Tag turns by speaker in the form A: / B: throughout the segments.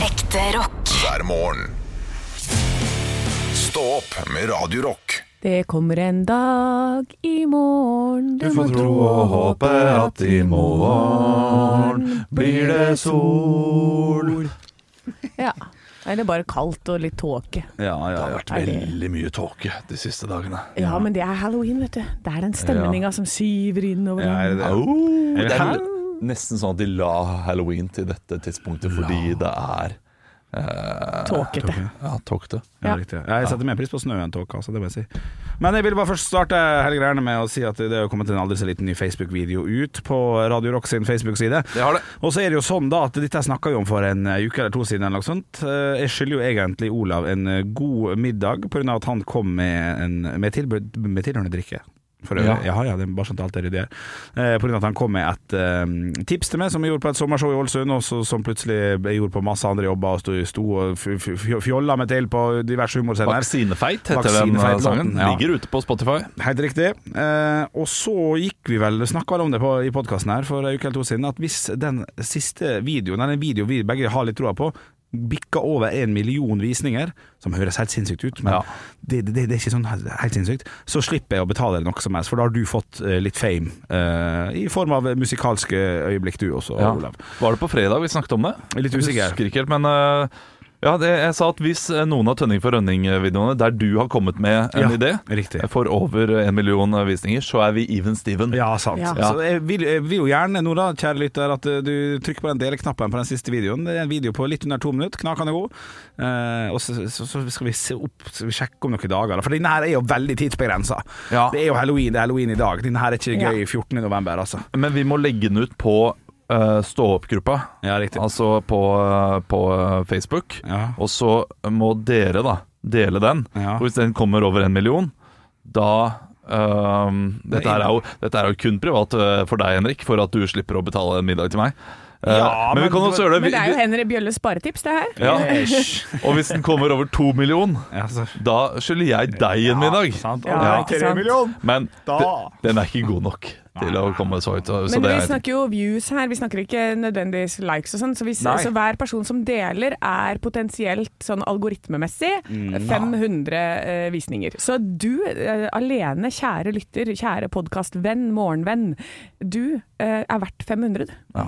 A: Ekte rock.
B: hver morgen. Stå opp med Radio Rock.
C: Det kommer en dag i morgen
D: Du får tro og håpe at i morgen blir det sol.
C: Ja. Eller bare kaldt og litt tåke.
D: Ja, ja, det har vært
C: Er det-
D: veldig mye tåke de siste dagene.
C: Ja, men det er halloween, vet du. Det er den stemninga som syver innover.
E: Ja, er det det?
D: Au!
E: Eller
D: Det er
E: hæ?
D: vel nesten sånn at de la halloween til dette tidspunktet fordi det er eh,
C: Tåkete.
D: Ja, tåkete.
E: Ja,
C: Ja.
E: riktig. Jeg setter mer pris på snø enn tåke, altså, det må jeg si. Men jeg vil bare først starte hele greiene med å si at det har kommet en aldri så liten ny Facebook-video ut på Radio Rock sin Facebook-side.
D: Det har det.
E: Og så er det jo sånn da at dette snakka vi om for en eh, uke eller to siden. eller noe sånt Eh, Jeg skylder jo egentlig Olav en eh, god middag pga. at han kom med, en, med, tilbud, med tilhørende drikke. For øvrig. Ja. ja, det er bare sånn at alt er ryddig her. Eh, Pga. at han kom med et eh, tips til meg som jeg gjorde på et sommershow i Ålesund, og så- som plutselig jeg gjorde på masse andre jobber og sto, sto og f- f- f- fjolla meg til på diverse humorscener.
D: Vaksinefeit heter den eh,
E: Vaksinefeit-låten,
D: sangen.
E: ja.
D: Ligger ute på Spotify.
E: Helt riktig. Eh, og så gikk vi vel snakka vel om det på, i podkasten her for en uke eller to siden, at hvis den siste videoen, eller den videoen vi begge har litt troa på, bikker over en million visninger, som høres helt sinnssykt ut, men
D: Ja.
E: det, det, det er ikke sånn helt, helt sinnssykt, så slipper jeg å betale deg noe som helst, for da har du fått eh, litt fame eh, i form av musikalske øyeblikk, du også,
D: Ja.
E: Olav.
D: Var det på fredag vi snakket om det?
E: Jeg er litt usikker.
D: Jeg husker ikke helt, men øh, ja, det, jeg sa at hvis øh, noen av Tønning for Rønning-videoene der du har kommet med en
E: Ja,
D: idé,
E: riktig.
D: får over en million øh, visninger, så er vi even Steven.
E: Ja, sant.
C: Ja.
E: Så jeg vil, jeg vil jo gjerne nå da, kjære lytter, at eh, du trykker på den delknappen på den siste videoen. Det er en video på litt under to minutter, knakende god. Eh, og så, så, så skal vi se opp, så vi sjekke om noen dager. da. For denne her er jo veldig tidsbegrensa.
D: Ja.
E: Det er jo halloween, det er halloween i dag. Denne her er ikke
C: Ja.
E: gøy 14. november, altså.
D: Men vi må legge den ut på øh, stå-opp-gruppa,
E: Ja, riktig.
D: altså på, øh, på øh, Facebook.
E: Ja.
D: Og så må dere da dele den.
E: Ja.
D: Og hvis den kommer over en million, da øh, dette, her er jo, dette er jo kun privat øh, for deg, Henrik, for at du slipper å betale en middag til meg. Eh,
E: Ja,
D: men, vi
E: men-
D: kan også gjøre det
C: Men det er
D: vi-
C: jo Henry Bjølles sparetips, det her.
D: Ja. Og hvis den kommer over to million,
E: Ja, så.
D: da skylder jeg deg en middag.
E: Sant?
C: Ja,
E: Ja,
C: ikke
E: tre
C: sant.
E: million.
D: Men
E: Da.
D: de- den er ikke god nok til å komme så høyt. Så
C: Men
D: det
C: vi
D: er,
C: snakker jo views her, vi snakker ikke nødvendigvis likes og sånn. Så, hvis,
D: Nei.
C: så hver person som deler er potensielt sånn algoritmemessig
D: Mm.
C: 500 eh, visninger. Så du eh, alene, kjære lytter, kjære podkastvenn, morgenvenn, du eh, er verdt 500.
D: ja,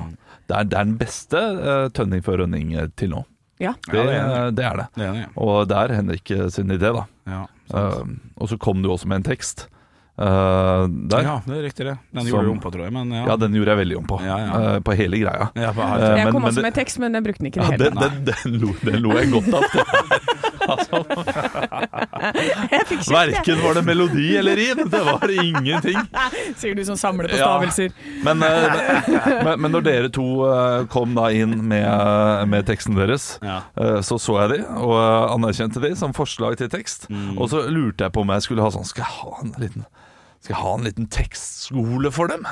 D: det, er, det er den beste eh, tønning for rønning eh, til nå.
C: Ja.
D: Det,
E: Ja, det er
D: det er det.
E: Det er det.
D: Og det er Henrik eh, sin idé, da.
E: Ja.
D: Eh, og så kom du også med en tekst eh, der. Ja.
E: ja, det er riktig, det. Den
D: Som-
E: gjorde vi om på, tror jeg. Men Sånn. ja.
D: den gjorde jeg veldig om på.
E: Ja, ja.
D: eh, på hele greia.
E: Ja, på alt.
D: Eh,
C: Jeg
D: men-
C: kom
D: men
C: også
D: det-
C: med tekst, men jeg brukte den ikke i
D: Ja,
C: det hele
D: den, den, den, lo, den lo jeg godt av. Altså.
C: tatt.
D: Verken var det melodi eller rim. Det var ingenting.
C: Sier du som samler på
D: Ja.
C: stavelser.
D: Men, eh, men, men når dere to eh, kom da inn med, eh, med teksten deres,
E: Ja.
D: eh, så så jeg de og eh, anerkjente de som forslag til tekst.
E: Mm.
D: Og så lurte jeg på om jeg skulle ha sånn Skal jeg ha en liten, skal jeg ha en liten tekstskole for dem?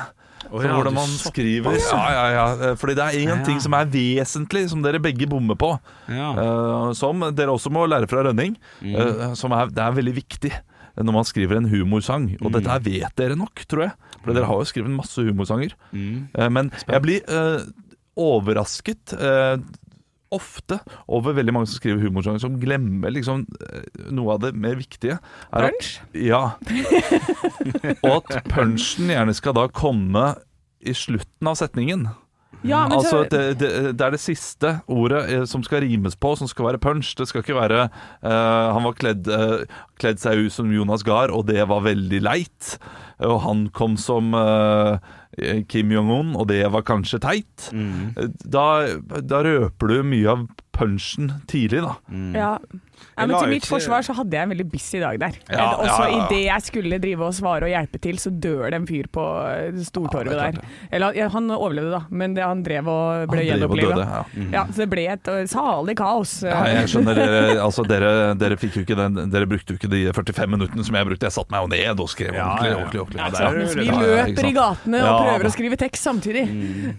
D: For
E: ja,
D: hvordan
E: du
D: man skriver ja, ja, ja. eh, Fordi det er én
E: Ja.
D: ting som er vesentlig, som dere begge bommer på.
E: Ja.
D: eh, som dere også må lære fra Rønning. eh, som er, det er veldig viktig når man skriver en humorsang. Og dette her vet dere nok, tror jeg. For dere har jo skrevet masse humorsanger. Eh, men jeg blir eh, overrasket eh, ofte over veldig mange som skriver humorsanger, som glemmer liksom eh, noe av det mer viktige. er at-
C: Punch?
D: Ja. Og at punchen gjerne skal da komme i slutten av setningen.
C: Ja, men
D: Altså,
C: så,
D: det, det, det er det siste ordet eh, som skal rimes på, som skal være punch. Det skal ikke være eh, 'han var kledd, eh, kledd seg ut som Jonas Gahr, og det var veldig leit'. Og 'han kom som eh, Kim Jong-un, og det var kanskje teit'.
E: Mm.
D: Eh, Da, da røper du mye av punchen tidlig, da.
E: Mm.
C: Ja. Nei, men
E: la
C: til
E: ut
C: mitt
E: til-
C: forsvar så hadde jeg en veldig busy dag der.
D: Ja,
C: Eh, Også
D: ja, ja, ja.
C: idet jeg skulle drive og svare og hjelpe til, så dør det en fyr på eh, Stortorvet
D: Ja, det er klart
C: der. Eller ja, han overlevde, da, men det, han drev og ble
D: Han drev og
C: gjenopplivet. Mm.
D: døde, ja. Mm.
C: Ja, så det ble et eh, salig kaos.
D: Ja, jeg skjønner dere, altså dere, dere, fikk jo ikke den, dere brukte jo ikke de 45 minuttene som jeg brukte. Jeg satte meg jo ned og skrev
E: Ja,
D: ordentlig.
E: ja, ja.
D: ordentlig, ordentlig.
E: Ja,
D: det
E: så
D: er-
C: Mens vi
D: Ja, ja, ikke
C: løper
D: sant.
C: i gatene og
D: Ja,
C: prøver
D: da. Mm.
C: å skrive tekst samtidig.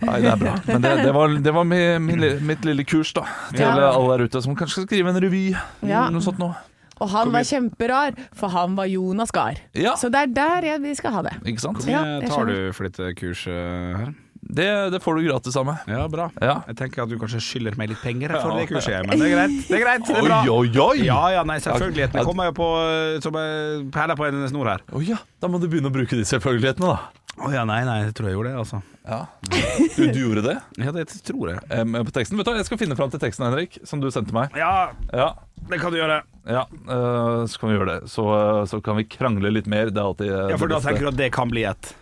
D: Nei, det er bra. Men det, det var, det var mi, min li- mitt lille kurs da til
C: Ja.
D: alle der ute som kanskje skal skrive en revy.
C: Ja.
D: Noe sånt noe.
C: Og han var kjemperar, for han var Jonas Gahr.
D: Ja.
C: Så det er der jeg, vi skal ha det.
D: Ikke sant?
C: Ja,
E: Hvor mye
C: jeg
E: tar du for dette kurset eh, her?
D: Det, det får du gratis av meg.
E: Ja, bra.
D: Ja.
E: Jeg tenker at du kanskje skylder meg litt penger for det kurset, men det er greit. Det er greit, det er
D: Oi,
E: bra.
D: oi, oi!
E: Ja, ja, nei, selvfølgeligheten
D: Ja.
E: kommer jo på eh, som eh, perler på en snor her.
D: Å ja, da må du begynne å bruke de selvfølgelighetene, da.
E: Å ja, nei, nei, jeg tror jeg gjorde det, altså.
D: Du, du gjorde det
E: Ja, det tror jeg.
D: em, på teksten. Vet du, hva, jeg skal finne fram til teksten, Henrik, som du sendte meg.
E: Ja,
D: Ja,
E: det kan du gjøre.
D: ja eh, så kan vi gjøre det. Så, eh, så kan vi krangle litt mer. Det er alltid eh,
E: Ja, For da
D: det beste.
E: tenker du at det kan bli et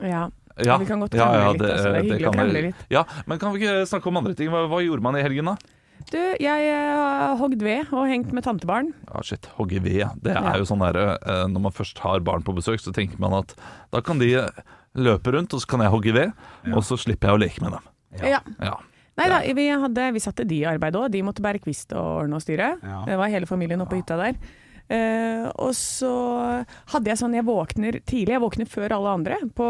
C: Ja.
D: ja,
C: vi kan godt krangle litt, altså. Det er hyggelig å
D: kan vi-
C: krangle litt.
D: Ja, Men kan vi ikke snakke om andre ting? Hva, hva gjorde man i helgen, da?
C: Du, jeg eh, har hogd ved og hengt med tantebarn.
D: Ja, Ah, shit, hogge ved. Det er jo sånn der, eh, Når man først har barn på besøk, så tenker man at da kan de eh, løpe rundt, og så kan jeg hogge ved, og så slipper jeg å leke med dem.
C: Ja.
D: Ja.
C: Nei da, vi, hadde, vi satte de i arbeid òg. De måtte bære kvist og ordne og styre.
E: Ja.
C: Det var hele familien oppe på hytta der. Eh, og så hadde jeg sånn Jeg våkner tidlig. Jeg våkner før alle andre på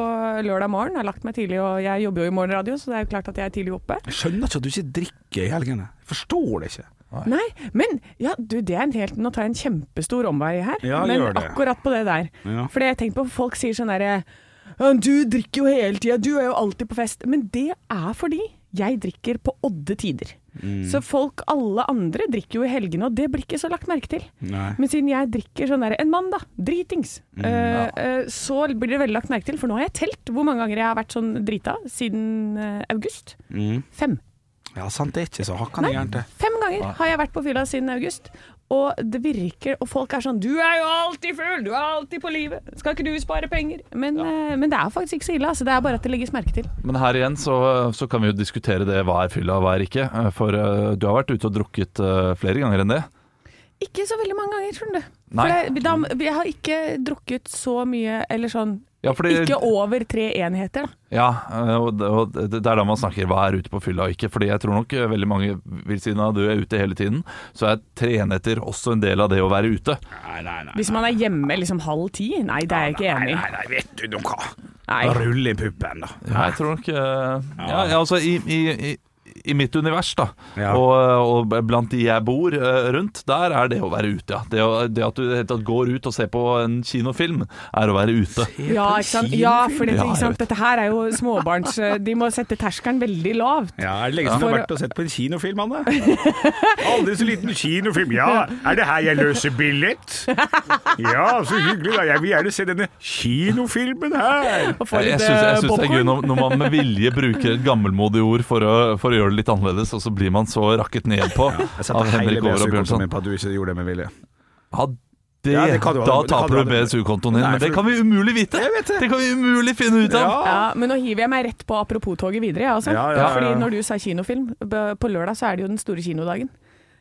C: lørdag morgen. Jeg har lagt meg tidlig, og jeg jobber jo i morgenradio, så det er jo klart at jeg er tidlig oppe.
E: Jeg skjønner ikke at du ikke drikker i helgene. Jeg forstår det ikke.
C: Nei, men ja, du, det er en helt Nå tar jeg en kjempestor omvei her,
E: Ja,
C: men
E: gjør det.
C: akkurat på det der.
E: Ja.
C: For det jeg tenker på, folk sier sånn derre «Ja, Du drikker jo hele tida, du er jo alltid på fest. Men det er fordi jeg drikker på odde tider. Så folk, alle andre, drikker jo i helgene, og det blir ikke så lagt merke til.
E: Nei.
C: Men siden jeg drikker sånn der en mandag, dritings, eh, eh, så blir det veldig lagt merke til. For nå har jeg telt hvor mange ganger jeg har vært sånn drita siden eh, august. Fem.
E: Mm. Ja, sant, det er ikke så hakkande gærent, det.
C: Fem ganger har jeg vært på fylla siden august. Og det virker, og folk er sånn 'Du er jo alltid full! Du er alltid på livet! Skal ikke du spare penger?' Men, eh, men det er faktisk ikke så ille. Altså. Det er bare at det legges merke til.
D: Men her igjen så, så kan vi jo diskutere det hva er fylla og hva er ikke. For eh, du har vært ute og drukket eh, flere ganger enn det.
C: Ikke så veldig mange ganger, skjønner du.
D: Nei.
C: For det, da, jeg har ikke drukket så mye, eller sånn
D: Ja, fordi-
C: Ikke over tre enheter, da.
D: Ja, eh, og det- og det det er da man snakker hva er ute på fylla og ikke. Fordi jeg tror nok eh, veldig mange vil si at du er ute hele tiden, så er tre enheter også en del av det å være ute.
E: Nei, nei, nei.
C: Hvis man er hjemme liksom halv ti? Nei, det er jeg ikke enig i.
E: Nei, nei, nei, vet du nå hva.
C: Nei.
E: Rulle i puppen, da.
D: Ja, jeg tror nok eh, ja, ja, altså i, i, i, i mitt univers, da,
E: Ja.
D: og, og blant de jeg bor eh, rundt, der er det å være ute, ja. Det, å, det at du helt tatt går ut og ser på en kinofilm, er å være ute.
C: Ja, ikke sant? ja for dette,
D: Ja, jeg
C: ikke sant? dette her er jo småbarns... eh, De må sette terskelen veldig lavt.
E: Ja, er det lenge siden du har
C: For-
E: vært og sett på en kinofilm, Anne? Aldri så liten kinofilm. Ja, er det her jeg løser billett? Ja, så hyggelig, da. Jeg vil gjerne se denne kinofilmen her.
C: Og få
D: Jeg, jeg
C: litt
D: syns jeg
C: eh,
D: syns det er gøy
C: popcorn.
D: når, når man med vilje bruker et gammelmodig ord for å, for å gjøre det litt annerledes, og så blir man så rakket ned på
E: Jeg
D: av
E: setter hele
D: Henrik Over og
E: BSU-kontoen
D: Bjørnson.
E: min på at du ikke gjorde det med vilje.
D: Ja, det,
E: Ja, det kan du ha-
D: da
E: det kan du
D: taper
E: ha-
D: du BSU-kontoen din,
E: Nei,
D: men det
E: for-
D: kan vi umulig vite!
E: Jeg vet det.
D: Det kan vi umulig finne ut av!
E: Ja,
C: Ja, men nå hiver jeg meg rett på apropos-toget videre, jeg også.
E: Ja, ja, ja, ja.
C: Fordi når du sa kinofilm, b- på lørdag så er det jo den store kinodagen.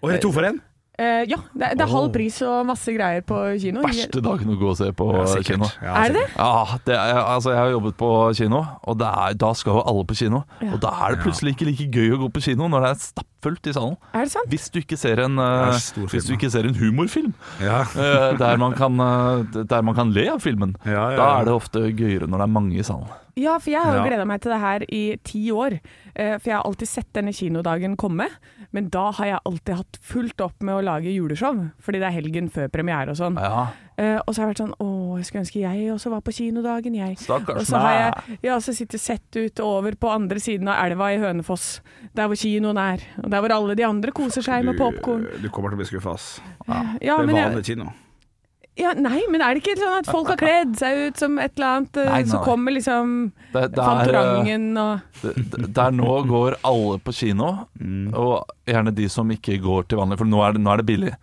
E: Og er det to for en?
C: Eh, ja, det er, det er halv pris og masse greier på kino.
D: Verste dagen å gå og se på kino.
E: Ja,
C: Er det det?
D: Ja, det er, altså jeg har jobbet på kino, og det er, da skal jo alle på kino. Og da er det plutselig ikke like gøy å gå på kino når det er stappfullt i salen.
C: Er det sant?
D: Hvis du ikke ser en, eh,
E: Det er stor film,
D: hvis du
E: da.
D: ikke ser en humorfilm
E: Ja.
D: eh, der, man kan, eh, der man kan le av filmen,
E: Ja, ja, ja.
D: da er det ofte gøyere når det er mange i salen.
C: Ja, for jeg har jo
E: Ja.
C: gleda meg til det her i ti år. Eh, For jeg har alltid sett denne kinodagen komme, men da har jeg alltid hatt fullt opp med å lage juleshow, fordi det er helgen før premiere og sånn.
D: Ja,
C: Eh, og så har jeg vært sånn Å, jeg skulle ønske jeg også var på kinodagen, jeg.
D: Stakkars
C: og så har jeg ja, så sitter jeg sett ut over på andre siden av elva i Hønefoss, der hvor kinoen er. Og der hvor alle de andre koser seg med popkorn.
E: Du, du kommer til å bli skuffa, ass.
D: eh,
C: Ja,
E: Det er
C: men
E: vanlig
C: jeg-
E: kino.
C: ja, nei, men er det ikke sånn at folk har kledd seg ut som et eller annet? eh,
D: Nei, nei,
C: Så
D: nei.
C: kommer liksom
D: det, det er, eh,
C: Fantorangen og
D: det- der nå går alle på kino,
E: Mm.
D: og gjerne de som ikke går til vanlig, for nå er det, nå er det billig.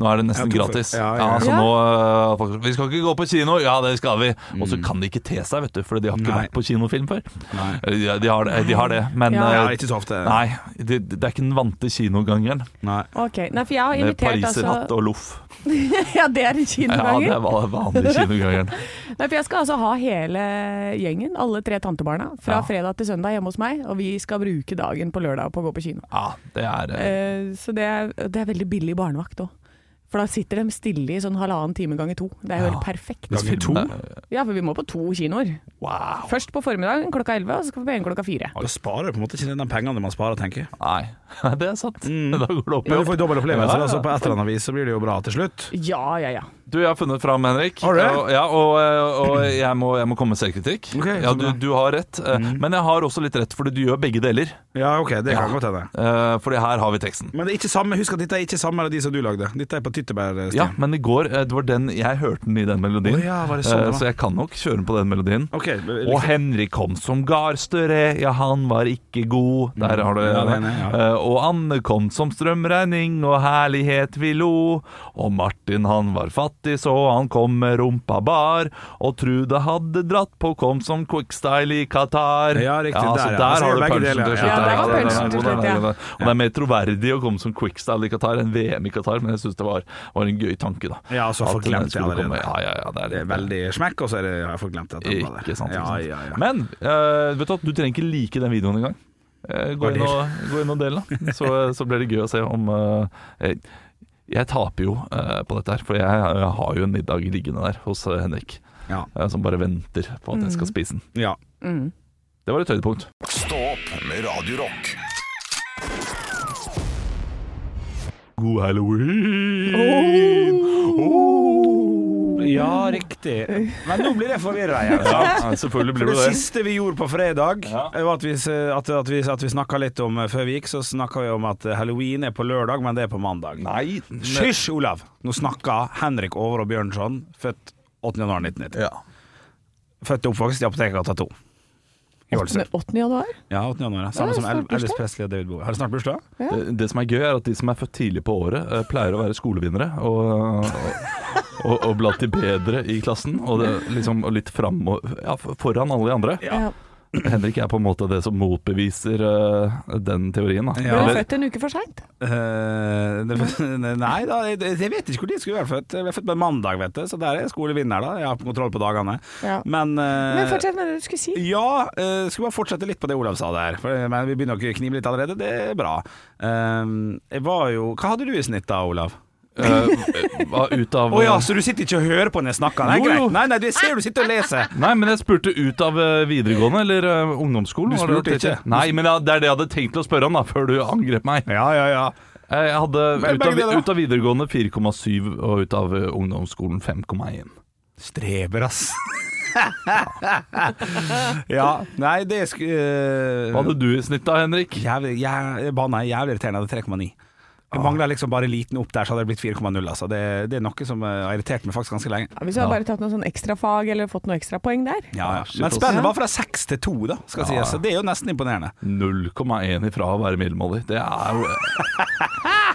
D: Nå er det nesten
E: Ja, to for-
D: gratis.
E: ja, ja, ja.
D: så
C: Ja.
D: nå, eh, folk, vi skal ikke gå på kino! Ja, det skal vi! Og så kan de ikke te seg, vet du, for de har ikke
E: Mm. Nei.
D: vært på kinofilm før. Eh,
E: Nei.
D: Ja, de, har det, de har det, men
C: Ja.
D: eh,
E: Ja, ikke så ofte.
D: Nei, det, det er ikke den vante kinogangeren.
E: Nei.
C: OK. Nei, for jeg har
D: Med
C: invitert
D: pariserhatt
C: altså
D: og loff.
C: Ja, det er en
D: Ja,
C: kinoganger.
D: det er va- vanlig kinogangeren.
C: Nei, for jeg skal altså ha hele gjengen, alle tre tantebarna, fra
D: Ja.
C: fredag til søndag hjemme hos meg, og vi skal bruke dagen på lørdag på å gå på kino.
D: Ja, det er eh,
C: Eh, så det er, det er veldig billig barnevakt òg. For da sitter de stille i sånn halvannen time ganger to. Det er jo helt perfekt.
E: Ganger to?
C: Ja, for vi må på to kinoer.
D: Wow.
C: Først på formiddagen klokka elleve, og så skal vi på en klokka fire.
E: Da sparer du på en måte ikke den pengene man sparer, tenker jeg.
D: Nei, det er sant. Da går det opp i
E: Men Mm. du
D: opp.
E: får jo dobbel opplevelse,
D: Ja, ja.
E: da, så på et eller annet vis så blir det jo bra til slutt.
C: Ja, ja, ja.
D: Du, jeg har funnet fram, Henrik.
E: Har du det?
D: Og, ja, og, eh, og jeg, må, jeg må komme med selvkritikk.
E: Ok, Mhm. så
D: ja, du,
E: bra.
D: du har rett, eh, men jeg har også litt rett, fordi du gjør begge deler.
E: Ja, ok, det kan godt hende.
D: Eh, Fordi her har vi teksten.
E: Men det er ikke samme, husk at dette er ikke samme av de som du lagde. Dette er på tyttebærstien.
D: Ja, men i går eh, det var den, jeg hørte den i den melodien,
E: Å ja, var det sånn det
D: Eh,
E: var?
D: så jeg kan nok kjøre den på den melodien.
E: Ok,
D: Og
E: liksom.
D: Henrik kom som garstøre, ja han var ikke god Der har du
E: Mm, Ja, den er- ja.
D: Eh, Og Anne kom som strømregning, og herlighet vi lo Og Martin han var fattig, så han kom med rumpa bar Og Trude hadde dratt på, kom som quickstyle i Qatar
E: Ja, riktig,
D: så
E: der, ja.
D: der
E: Altså,
D: har du
E: begge
D: punchen
E: deler,
D: til
E: ja.
D: slutt
C: Ja, der var
D: den er
C: punchen til
D: god, den
C: slutt,
D: er
C: ja.
D: god, den. Og det er mer troverdig å komme som quickstyle i Qatar enn VM i Qatar Men jeg synes det var, var en gøy tanke da
E: Ja, så
D: At
E: folk
D: den
E: glemte
D: skulle
E: allerede.
D: komme- Ja, ja, ja, det er,
E: Det er veldig smekk, og så er det, har jeg fått glemt at den var der.
D: ikke sant, ikke
E: Ja,
D: sant.
E: ja, ja.
D: Men eh, vet du at du trenger ikke like den videoen engang. Eh, gå,
E: Bare
D: inn og, gå inn og del, da. Så, så blir det gøy å se om eh, eh, Jeg taper jo eh, på dette her, for jeg, eh, har jo en middag liggende der hos eh, Henrik.
E: Ja.
D: eh, som bare venter på at jeg skal spise den.
E: ja.
D: Det var et høydepunkt.
B: Stå opp med Radio Rock.
D: God halloween!
E: ja, riktig. Men nå blir jeg forvirra igjen. sant?
D: Ja, selvfølgelig blir
E: det
D: du det.
E: siste vi gjorde på fredag,
D: Ja.
E: eh, var at vi, s- at, at vi, at vi snakka litt om eh, Før vi gikk, så snakka vi om at eh, halloween er på lørdag, men det er på mandag.
D: Nei
E: Hysj, Olav! Nå snakka Henrik Over og Bjørnson, født 8.1.1990.
D: Ja.
E: Født og oppvokst i Apotekegata 2. I Ålesund.
C: 8. januar?
E: Ja, 8. januar. ja. Samme
C: Ja,
E: som
C: snart
E: El- Elvis
C: bursdag.
E: Presley og David Bowie. Har du snart bursdag?
D: Det, det som er gøy, er at de som er født tidlig på året, eh, pleier å være skolevinnere og, og, og blant de bedre i klassen. Og det, liksom, og litt fram og, ja, for- foran alle de andre.
C: Ja.
D: Henrik er på en måte det som motbeviser eh, den teorien. Da.
E: Ja.
C: Du er
D: Eller,
C: født en uke for seint.
E: Eh, det- nei da, jeg, jeg vet ikke hvor de skulle være født. Jeg ble født på en mandag, vet du, så der er jeg skolevinner, da. Jeg har kontroll på dagene.
C: Ja.
E: Men, eh,
C: Men fortsett med det du skulle si.
E: Ja, eh, skal bare fortsette litt på det Olav sa der. For eh, men Vi begynner å knive litt allerede, det er bra. Eh, jeg var jo Hva hadde du i snitt da, Olav?
D: eh, hva ut
E: Å
D: av
E: ja, så du sitter ikke og hører på når jeg snakker? Nei,
D: Jo, jo.
E: greit. Nei, nei, du jeg ser du sitter og leser.
D: Nei, men jeg spurte ut av eh, videregående eller eh, ungdomsskolen.
E: Du
D: var det
E: spurte
D: det-
E: ikke.
D: Nei, men ja, det er det jeg hadde tenkt å spørre om da, før du angrep meg.
E: Ja, ja, ja.
D: Eh, Jeg hadde
E: Men
D: ut
E: begge
D: av,
E: deler.
D: ut av videregående 4,7 og ut av eh, ungdomsskolen 5,1.
E: Streber, ass. ja, nei, det skulle eh,
D: Hva hadde du i snitt da, Henrik?
E: Jævlig, jævlig, banna, jævlig irriterende. Det er 3,9. Det mangla liksom bare liten opp der, så hadde det blitt 4,0. Altså. Det, det er noe som eh, har irritert meg faktisk ganske lenge.
C: Ja, hvis du hadde bare tatt noen sånn ekstrafag eller fått noen ekstrapoeng der.
E: Ja, ja.
D: shit,
E: Men
D: ass.
E: spennet var fra 6 til 2, da, skal
D: Ja, ja.
E: sies. Så det er jo nesten imponerende.
D: 0,1 ifra å være middelmådig. Det er jo eh,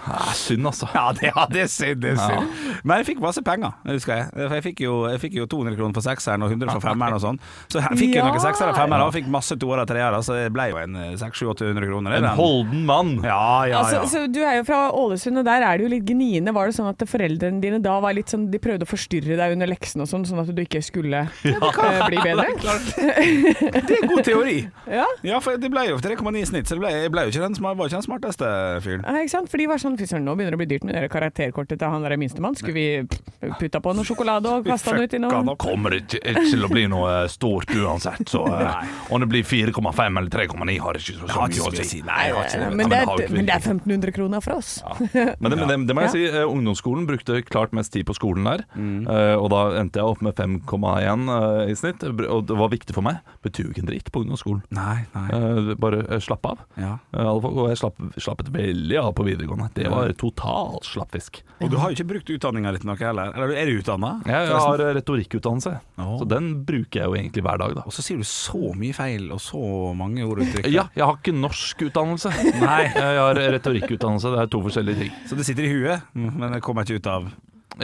D: Det er synd, altså.
E: Ja, det, ja, det er synd, det er synd. Men jeg fikk masse penger, husker jeg. For jeg fikk jo, jeg fikk jo 200 kroner for sekseren og 100 for femmeren og sånn. Så jeg fikk jo
C: Ja.
E: noen seksere og femmere og fikk masse toere og treere, så det ble jo en eh, 600-700-800 kroner. i
D: En
E: den.
D: holden mann.
E: Ja, ja,
C: Altså,
E: ja.
C: så du er jo fra Ålesund, og der er det jo litt gniende. Var det sånn at foreldrene dine da var litt sånn De prøvde å forstyrre deg under leksene og sånn, sånn at du ikke skulle eh, bli bedre?
E: Det er god teori.
C: Ja.
E: Ja, for det ble jo 3,9 i snitt, så det ble, jeg ble jo ikke den, sma- var ikke den smarteste fyren.
C: Ja, ikke sant? For de var sånn Fy søren, nå begynner det å bli dyrt med det karakterkortet til han der minstemann. Skulle vi putta på noe sjokolade og kasta den ut i
E: Fucka han
C: noen
E: opp.
D: Kommer ikke til å bli noe eh, stort uansett, så eh, om det blir 4,5 eller 3,9 har ikke så,
E: Har ikke så mye å si. Nei, jeg har ikke
C: Eh,
E: det. vet du.
C: men,
D: Ja, men
C: det
D: har
C: er,
D: ikke vi-
C: men det er 1500 kroner fra oss.
D: Men det, men det, det må jeg si, eh, ungdomsskolen brukte klart mest tid på skolen der. eh, og da endte jeg opp med 5,1 eh, i snitt. Og det var viktig for meg. Betyr jo ikke en dritt på ungdomsskolen.
E: Nei, nei.
D: Eh, bare eh, slapp av.
E: Ja.
D: Eh, alle folk- og jeg slapp, slappet veldig av på videregående. Det var totalt slappfisk.
E: Og du har jo ikke brukt utdanninga litt noe heller. Eller er du utdanna?
D: Jeg har eh, retorikkutdannelse,
E: Åh.
D: så den bruker jeg jo egentlig hver dag. da
E: Og så sier du så mye feil og så mange orduttrykk.
D: Ja, jeg har ikke norsk utdannelse. Nei, jeg har retorikkutdannelse. Det er to forskjellige ting.
E: Så det sitter i huet, men det kommer ikke ut av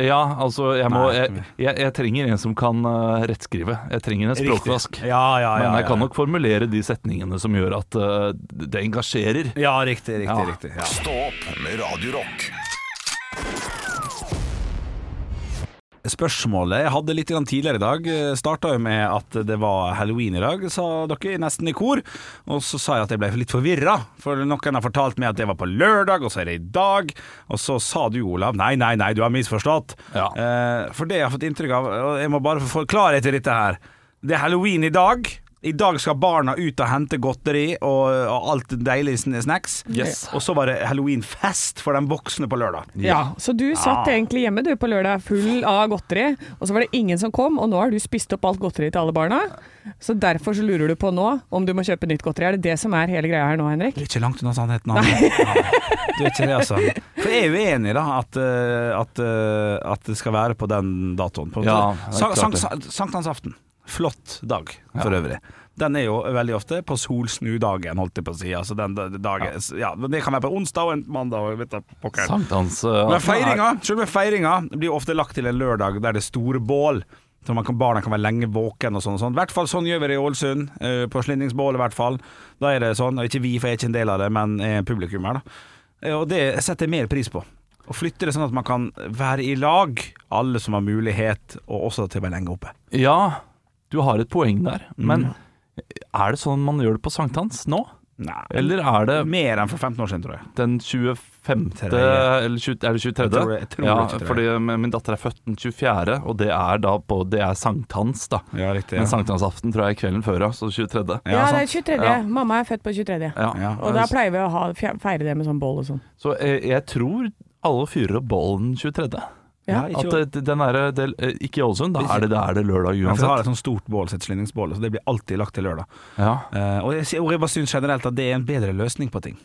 D: Ja, altså, jeg, må,
E: Nei,
D: jeg, jeg, jeg trenger en som kan eh, rettskrive. Jeg trenger en språkvask.
E: Riktig. Ja, ja, ja.
D: Men jeg kan
E: ja.
D: nok formulere de setningene som gjør at eh, det engasjerer.
E: Ja, riktig, riktig.
D: Ja.
E: riktig ja.
B: Stå opp med Radio Rock.
E: spørsmålet jeg hadde litt grann tidligere i dag, starta jo med at det var halloween i dag, sa dere, nesten i kor. Og så sa jeg at jeg ble litt forvirra, for noen har fortalt meg at det var på lørdag, og så er det i dag. Og så sa du, Olav, nei, nei, nei, du har misforstått.
D: Ja.
E: Eh, for det jeg har fått inntrykk av, og jeg må bare få klarhet i dette her. Det er halloween i dag. I dag skal barna ut og hente godteri og, og alt deilig sn- snacks.
D: Yes.
E: Og så var det halloweenfest for de voksne på lørdag.
C: Ja, så du satt egentlig hjemme du på lørdag full av godteri, og så var det ingen som kom, og nå har du spist opp alt godteriet til alle barna. Så derfor så lurer du på nå om du må kjøpe nytt godteri. Er det det som er hele greia her nå, Henrik?
E: Det er ikke langt unna sannheten. Anne. Nei. Du er ikke det, altså. For jeg er uenig da at, eh, at, eh, at det skal være på den datoen. På
D: Ja, det er
E: Sank-
D: klart det.
E: sank- Sankthansaften. Flott dag, for øvrig. Den er jo veldig ofte på solsnudagen, holdt jeg på å si. Altså den da- dagen, ja. men det kan være på onsdag og en mandag. og Vet da, pokker.
D: Sankthans eh,
E: Men feiringa, selve feiringa blir jo ofte lagt til en lørdag der det er store bål. Så man kan, barna kan være lenge våken og sånn. og sånn. I hvert fall sånn gjør vi det i Ålesund, eh, på slindringsbålet i hvert fall. Da er det sånn, og ikke vi, for jeg er ikke en del av det, men jeg er publikum her, da. Eh, Og det setter jeg mer pris på. Å flytte det sånn at man kan være i lag, alle som har mulighet, og også til å være lenge oppe.
D: Ja, du har et poeng der.
E: Mm.
D: Men er det sånn man gjør det på sankthans nå?
E: Nei.
D: Eller er det
E: Mer enn for 15 år siden, tror jeg.
D: den 25.
E: Tredje.
D: eller 20, er det 23.?
E: Jeg tror det- jeg tror
D: ja,
E: det er 23..
D: fordi eh, min min datter er født den 24., og det er da på Det er sankthans, da.
E: Ja, riktig.
D: Men sankthansaften tror jeg er kvelden før, ja, så 23.
E: Ja, sant.
C: 23.
D: Ja.
C: Mamma er født på 23.
D: Ja.
E: Ja.
C: Og da pleier vi å ha, feire det med sånn boll og sånn.
D: Så jeg, jeg tror alle fyrer opp bollen 23.
C: Ja.
E: ikke-
D: At det- den er, det, ikke i Ålesund, da er det, da er det lørdag
E: Ja, for jeg har
D: uansett.
E: et sånt stort bål, så et slindringsbål, så det blir alltid lagt til lørdag.
D: Ja.
E: Eh, og jeg, og jeg bare syns generelt at det er en bedre løsning på ting.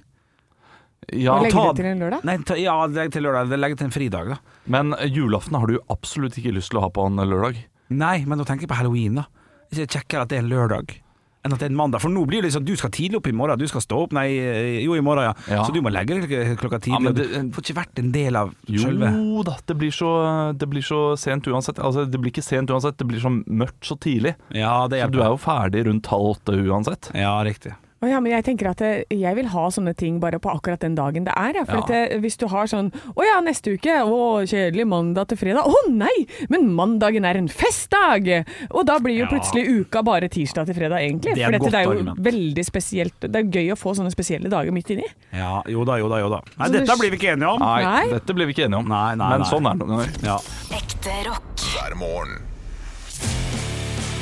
D: Ja,
C: Og legge
E: ta-
C: det til en lørdag?
E: Nei, ta, ja, legg til lørdag. Legg til en fridag, da.
D: men eh, julaften har du jo absolutt ikke lyst til å ha på en eh, lørdag.
E: Nei, men nå tenker jeg på halloween, da. Hvis jeg sjekker at det er en lørdag, enn at det er en mandag. For nå blir det liksom du skal tidlig opp i morgen, du skal stå opp Nei, eh, jo, i morgen, ja.
D: Ja.
E: Så du må legge deg klok- klokka
D: Ja,
E: tidlig.
D: men
E: og
D: det-
E: du får ikke vært en del av
D: Jo
E: selve
D: da, det blir, så, eh, det blir så sent uansett. Altså, det blir ikke sent uansett, det blir så mørkt så tidlig.
E: Ja, det
D: Så du er jo ferdig rundt halv åtte uansett.
E: Ja, riktig.
C: Å ja, men jeg tenker at eh, jeg vil ha sånne ting bare på akkurat den dagen det er. Ja. For
D: Ja.
C: at eh, hvis du har sånn Å ja, neste uke. Å, kjedelig. Mandag til fredag. Å nei! Men mandagen er en festdag! Og da blir jo
E: Ja.
C: plutselig uka bare tirsdag til fredag, egentlig.
E: Det er
C: for
E: et
C: dette, det er
E: godt
C: jo
E: argument.
C: veldig spesielt. Det er gøy å få sånne spesielle dager midt inni.
E: Ja, jo da, jo da, jo da. Nei,
C: Så du-
E: dette blir vi ikke enige om.
D: Nei,
C: Nei.
D: dette blir vi ikke enige om.
E: Nei, nei,
D: Men
E: nei.
D: sånn er det noen ganger.
E: Ja.
A: Ekte rock.
B: hver morgen.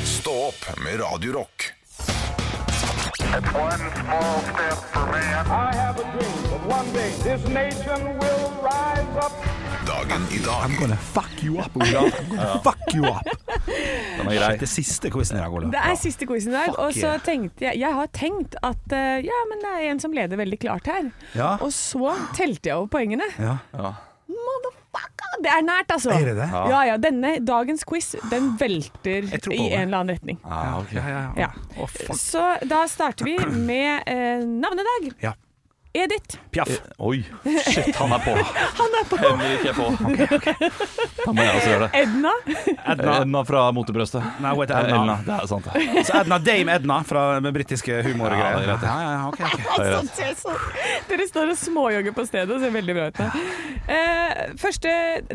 B: Stå opp med Radio Rock.
F: One small step for man.
G: I have a dream that one day this nation will rise up.
B: Dagen i dag
E: I'm gonna fuck you up, Olav. I'm gonna fuck you up.
D: Den er grei.
E: Det siste quizen i dag, Olav.
C: Det er siste quizen der, og så
E: yeah.
C: tenkte jeg Jeg har tenkt at eh, ja, men det er en som leder veldig klart her.
E: Ja.
C: Og så telte jeg over poengene.
E: Ja.
C: Motherfucker! Det er nært, altså.
E: Er det det?
C: Ja. ja, Denne dagens quiz, den velter
E: Jeg tror på
C: i
E: det.
C: en eller annen retning.
D: Ah, ok.
E: ja, ja.
C: Ja.
E: Å, fuck.
C: Så da starter vi med eh, navnedag.
E: Ja.
C: Edith.
E: Piaff.
D: Oi, shit, han er på. Han er på. Henrik er på. Da må jeg også gjøre det.
C: Edna.
E: Edna.
D: Edna fra motebrøstet.
E: Nei, hun heter
D: Eh,
E: Edna.
D: Elna, det er sant. det.
E: Så Edna, Dame Edna fra den britiske humorgreia.
D: Ja, det er greit, det.
E: ja, ja, ja, ok, ok.
C: Dere står og småjogger på stedet og ser veldig bra ut. nå. Eh, første,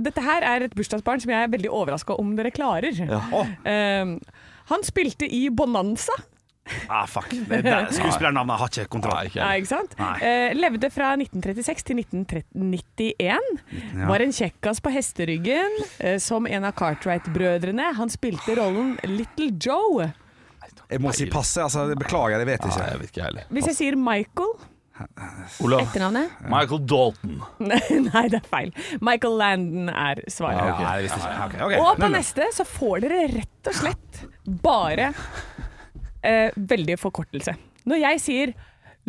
C: dette her er et bursdagsbarn som jeg er veldig overraska om dere klarer.
E: Å,
C: Eh, han spilte i Bonanza.
E: ah, fuck. Det der Skuespillernavnet har ikke
D: Nei,
E: kontroll.
D: ikke
C: Nei,
D: jeg.
C: ikke sant?
E: Nei.
C: Eh, levde fra 1936 til 1991.
E: ja.
C: Var en kjekkas på hesteryggen eh, som en av Cartwright-brødrene. Han spilte rollen Little Joe.
E: Jeg må si passe, altså. det Beklager, jeg vet
D: Nei,
E: ikke.
D: jeg vet ikke jeg heller.
C: Hvis jeg sier Michael
D: Olav.
C: Etternavnet?
D: Michael Dalton.
C: Nei, det er feil. Michael Landon er svaret.
E: Ja, jeg visste ikke. Ah, Ok, ok.
C: Og på
E: Null, null.
C: neste så får dere rett og slett bare eh, veldig forkortelse. Når jeg sier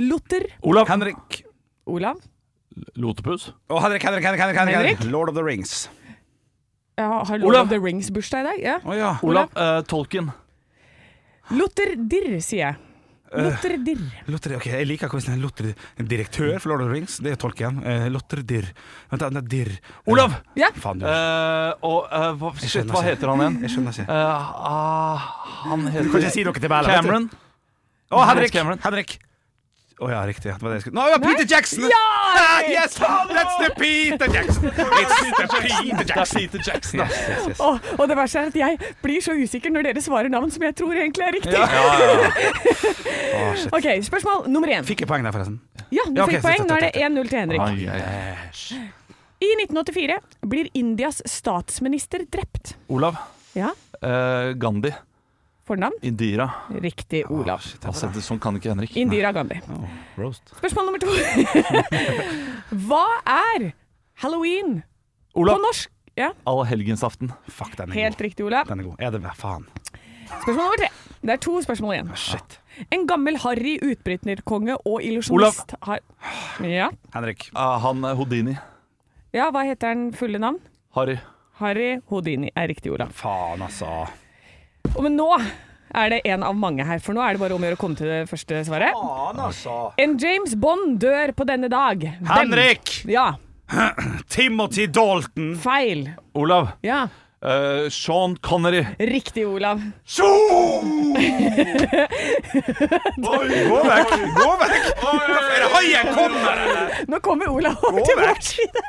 C: Luther
D: Olav.
E: Henrik.
C: Olav
D: Lotepus.
E: Å, Henrik, Henrik, Henrik, Henrik, Henrik,
C: Henrik?
E: Lord of the Rings.
C: jeg Har Lord
D: Olav.
C: of the Rings bursdag i dag? Ja.
E: Å ja.
D: Olav eh, Tolkien.
C: Luther Dirr, sier jeg.
E: Eh.
C: Luther Dirr.
E: Lotter, ok, Jeg liker quizen. Lotter, en direktør for Lord of the Rings, det er Tolkien. Eh, Lotter Dirr. Vent, da, det er Dirr.
D: Olav!
C: Ja.
E: Faen, du.
D: Eh, og eh, hva, shit,
E: skjønner
D: hva
E: ikke.
D: heter han igjen?
E: Jeg skjønner ikke.
D: Eh, ah, han heter
E: Du kan ikke si noe til Bella.
D: Cameron.
E: Å, Henrik!
D: Cameron.
E: Henrik. Å, Å ja, riktig. Det var det jeg skulle Nå, det var Peter Jackson!
C: Ja!
E: Ah, yes! That's the Peter Jackson! It's the Peter
D: Det er
E: Jackson!
D: Peter Jackson.
E: Yes, yes, yes.
C: Og, og det verste er at jeg blir så usikker når dere svarer navn som jeg tror egentlig er riktig.
E: Å, shit.
C: Ok, Spørsmål nummer én.
E: Fikk jeg poeng der, forresten?
C: Ja, du
E: Ja, ok,
C: fikk poeng.
E: så-
C: Nå er det 1-0 til Henrik.
D: Ai, ai, ai.
C: I 1984 blir Indias statsminister drept.
D: Olav.
C: Ja,
D: eh, Gandhi.
C: Fornavn?
D: Indira.
C: Riktig Olav.
D: Altså, det, sånn kan ikke Henrik.
C: Indira Gandhi.
E: Roast.
C: Spørsmål nummer to. Hva er halloween på
D: Olav.
C: norsk? Ja,
D: Allhelgensaften.
E: Fuck, den er
C: Helt
E: god.
C: riktig, Olav.
E: Den er god. Ja, det var faen.
C: Spørsmål nummer tre. Det er to spørsmål igjen.
E: Ah, Shit.
C: En gammel harry utbryterkonge og illusjonist har ja.
E: Henrik.
D: Eh, han eh, Houdini.
C: ja, hva heter den fulle navn?
D: Harry.
C: Harry Houdini er riktig, Olav.
E: Faen, altså.
C: Og men nå er det en av mange her, for nå er det bare om å gjøre å komme til det første svaret.
E: Faen, altså.
C: En James Bond dør på denne dag. Hvem?
E: Henrik!
C: Ja,
E: Timothy Dalton.
C: feil.
D: Olav.
C: Ja,
D: Eh, Sean Connery.
C: riktig, Olav.
E: Gå vekk! Gå vekk! Er det haien kommer, eller?
C: Nå kommer Olav over til vår side.